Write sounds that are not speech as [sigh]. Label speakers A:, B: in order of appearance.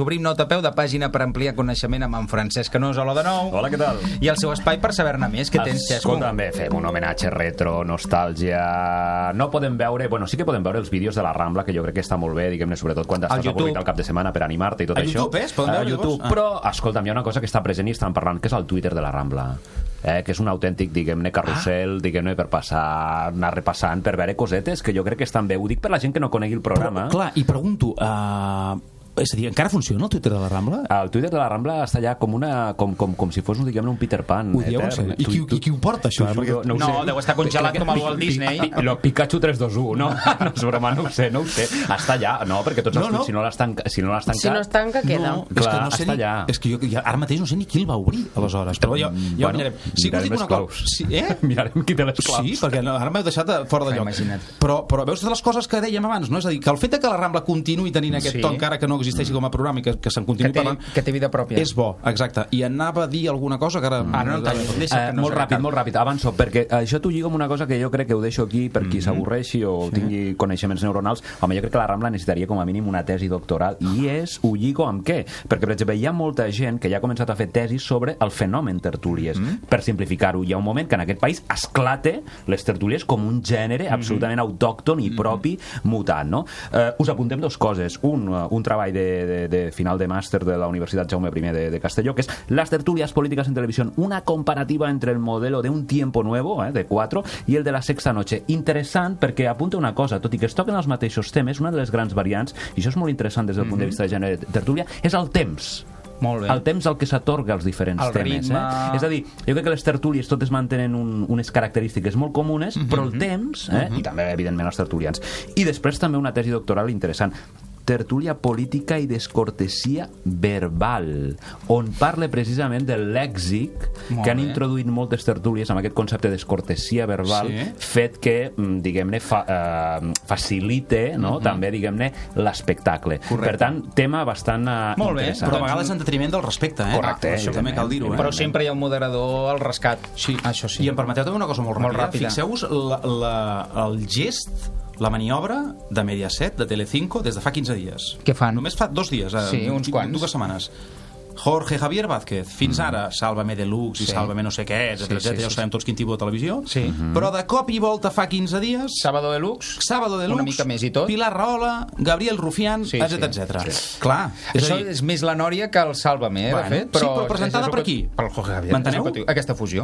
A: Obrim nota a peu de pàgina per ampliar coneixement amb en Francesc Canós. Hola de nou.
B: Hola, què tal?
A: I el seu espai per saber-ne més. Què tens, Xesco?
B: Escolta, bé, fem un homenatge retro, nostàlgia... No podem veure... Bueno, sí que podem veure els vídeos de la Rambla, que jo crec que està molt bé, diguem-ne, sobretot quan estàs
A: YouTube.
B: avorrit al cap de setmana per animar-te i tot
A: A
B: això.
A: YouTube, eh? Es poden
B: A
A: veure,
B: YouTube.
A: llavors? Ah.
B: Però, escolta'm, hi ha una cosa que està present i estan parlant, que és el Twitter de la Rambla. Eh, que és un autèntic, diguem-ne, carrusel, ah. diguem-ne, per passar, anar repassant, per veure cosetes, que jo crec que estan bé. Ho dic per la gent que no conegui el programa.
C: Però, clar, i pregunto... Uh, és a dir, encara funciona el Twitter de la Rambla?
B: El Twitter de la Rambla està allà com, una, com, com, com si fos, diguem-ne, un Peter Pan. eh,
C: Ho dieu, en
B: etern.
C: sèrio? I qui,
B: Tu- tu-
C: i qui ho porta, això?
B: T'ho
C: Perquè...
B: juro, ho
A: No,
B: sé.
A: deu estar congelat com el Walt
B: Pi-
A: Disney.
B: Pi- Pi- Lo Pikachu 321, no, [laughs] no és broma, no ho sé, no ho sé. Està allà, no, perquè tots els
C: No, no.
B: tuits, si no l'has tancat... Si no l'has tancat...
D: Si no es tanca, queda.
C: No,
D: No.
C: és
B: Clar,
C: que no sé
B: està
C: ni,
B: allà.
C: és que jo ja, ara mateix no sé ni qui el va obrir, aleshores. Però jo,
B: Mm,
C: ja ho
B: bueno,
C: mirarem. Sí que
B: mirarem
C: us dic
B: les
C: una
B: claus.
C: cosa. Sí, eh?
B: Mirarem qui té les [laughs] claus.
C: Sí, perquè no, ara m'heu deixat eh, fora de
A: S'ha
C: lloc.
A: imaginat.
C: Però, però veus totes les coses que dèiem abans, no? És a dir, que el fet de que la Rambla continuï tenint aquest
A: Sí.
C: to, encara que no existeixi com a programa i que, que se'n
A: Que
C: continuï
A: té,
C: parlant,
A: que té vida pròpia.
C: és bo, exacte. I anava a dir alguna cosa que ara...
A: Ah, no, no, talla, deixa
B: Eh,
A: que no
B: molt
A: serà
B: ràpid,
A: tard.
B: molt ràpid, avanço, perquè eh, això t'ho lligo amb una cosa que jo crec que ho deixo aquí per
A: Mhm.
B: qui s'avorreixi o tingui coneixements neuronals. Home, jo crec que la Rambla necessitaria com a mínim una tesi doctoral. I és, ho lligo amb què? Perquè, per exemple, hi ha molta gent que ja ha començat a fer tesis sobre el fenomen tertúlies.
A: Mhm.
B: Per simplificar-ho, hi ha un moment que en aquest país esclate les tertúlies com un gènere
A: Mhm.
B: absolutament autòcton i propi mutant, no? Eh, us apuntem dos coses. Un, eh, un treball de, de, de final de màster de la Universitat Jaume I de, de Castelló, que és Las tertulias políticas en televisión, una comparativa entre el modelo de Un tiempo nuevo, eh, de 4, i el de la sexta noche. Interessant perquè apunta una cosa, tot i que es toquen els mateixos temes, una de les grans variants, i això és molt interessant des del punt de vista de gènere de tertúlia, és el temps
A: Molt bé.
B: el temps al que s'atorga als diferents
A: El
B: temes.
A: ritme.
B: Eh? És a dir, jo crec que les tertúlies totes mantenen un, unes característiques molt comunes,
A: Mhm.
B: però el temps, eh? i també, evidentment, els tertulians. I després també una tesi doctoral interessant tertúlia política i descortesia verbal, on parla precisament del lèxic
A: Molt
B: que han
A: bé.
B: introduït moltes tertúlies amb aquest concepte de descortesia verbal,
C: Sí.
B: fet que, mm, diguem-ne, fa, eh, facilite no?
A: Mhm.
B: també, diguem-ne, l'espectacle. Per tant, tema bastant eh,
A: Molt bé,
B: interessant.
C: Però a vegades en detriment del respecte, eh?
B: Correcte,
C: Ah, Això també
B: evidentment.
C: cal dir-ho, eh?
A: Però sempre hi ha un moderador al rescat.
C: Sí.
A: Això sí.
C: I em permeteu també una cosa molt
A: Molt
C: ràpida.
A: ràpida.
C: Fixeu-vos la, la, el gest, la maniobra de Mediaset, de Telecinco, des de fa 15 dies.
A: Què fan?
C: Només fa dos dies. eh,
A: Sí, uns
C: du-
A: quants. Mm.
C: Dues setmanes. Jorge Javier Vázquez, fins ara Sálvame Deluxe i
A: Sí.
C: Sálvame no sé què, etcètera,
A: Sí, sí,
C: etcètera, ja ho
A: sí,
C: sabem tots quin tipus de televisió,
A: Sí. Mhm.
C: però de cop i volta fa 15 dies
A: Sábado Deluxe.
C: Sábado Deluxe,
A: Una mica més i tot.
C: Pilar Rahola, Gabriel Rufián,
A: Sí,
C: sí,
A: sí,
C: etcètera, etcètera. Clar, és
A: Això
C: a dir,
A: és més la nòria que el Sàlvame, eh,
C: Bueno,
A: de fet.
C: sí, però presentada
A: és el
C: per
A: que-
C: aquí.
A: Pel Jorge Javier.
C: M'enteneu?
A: És el que diu, Aquesta fusió.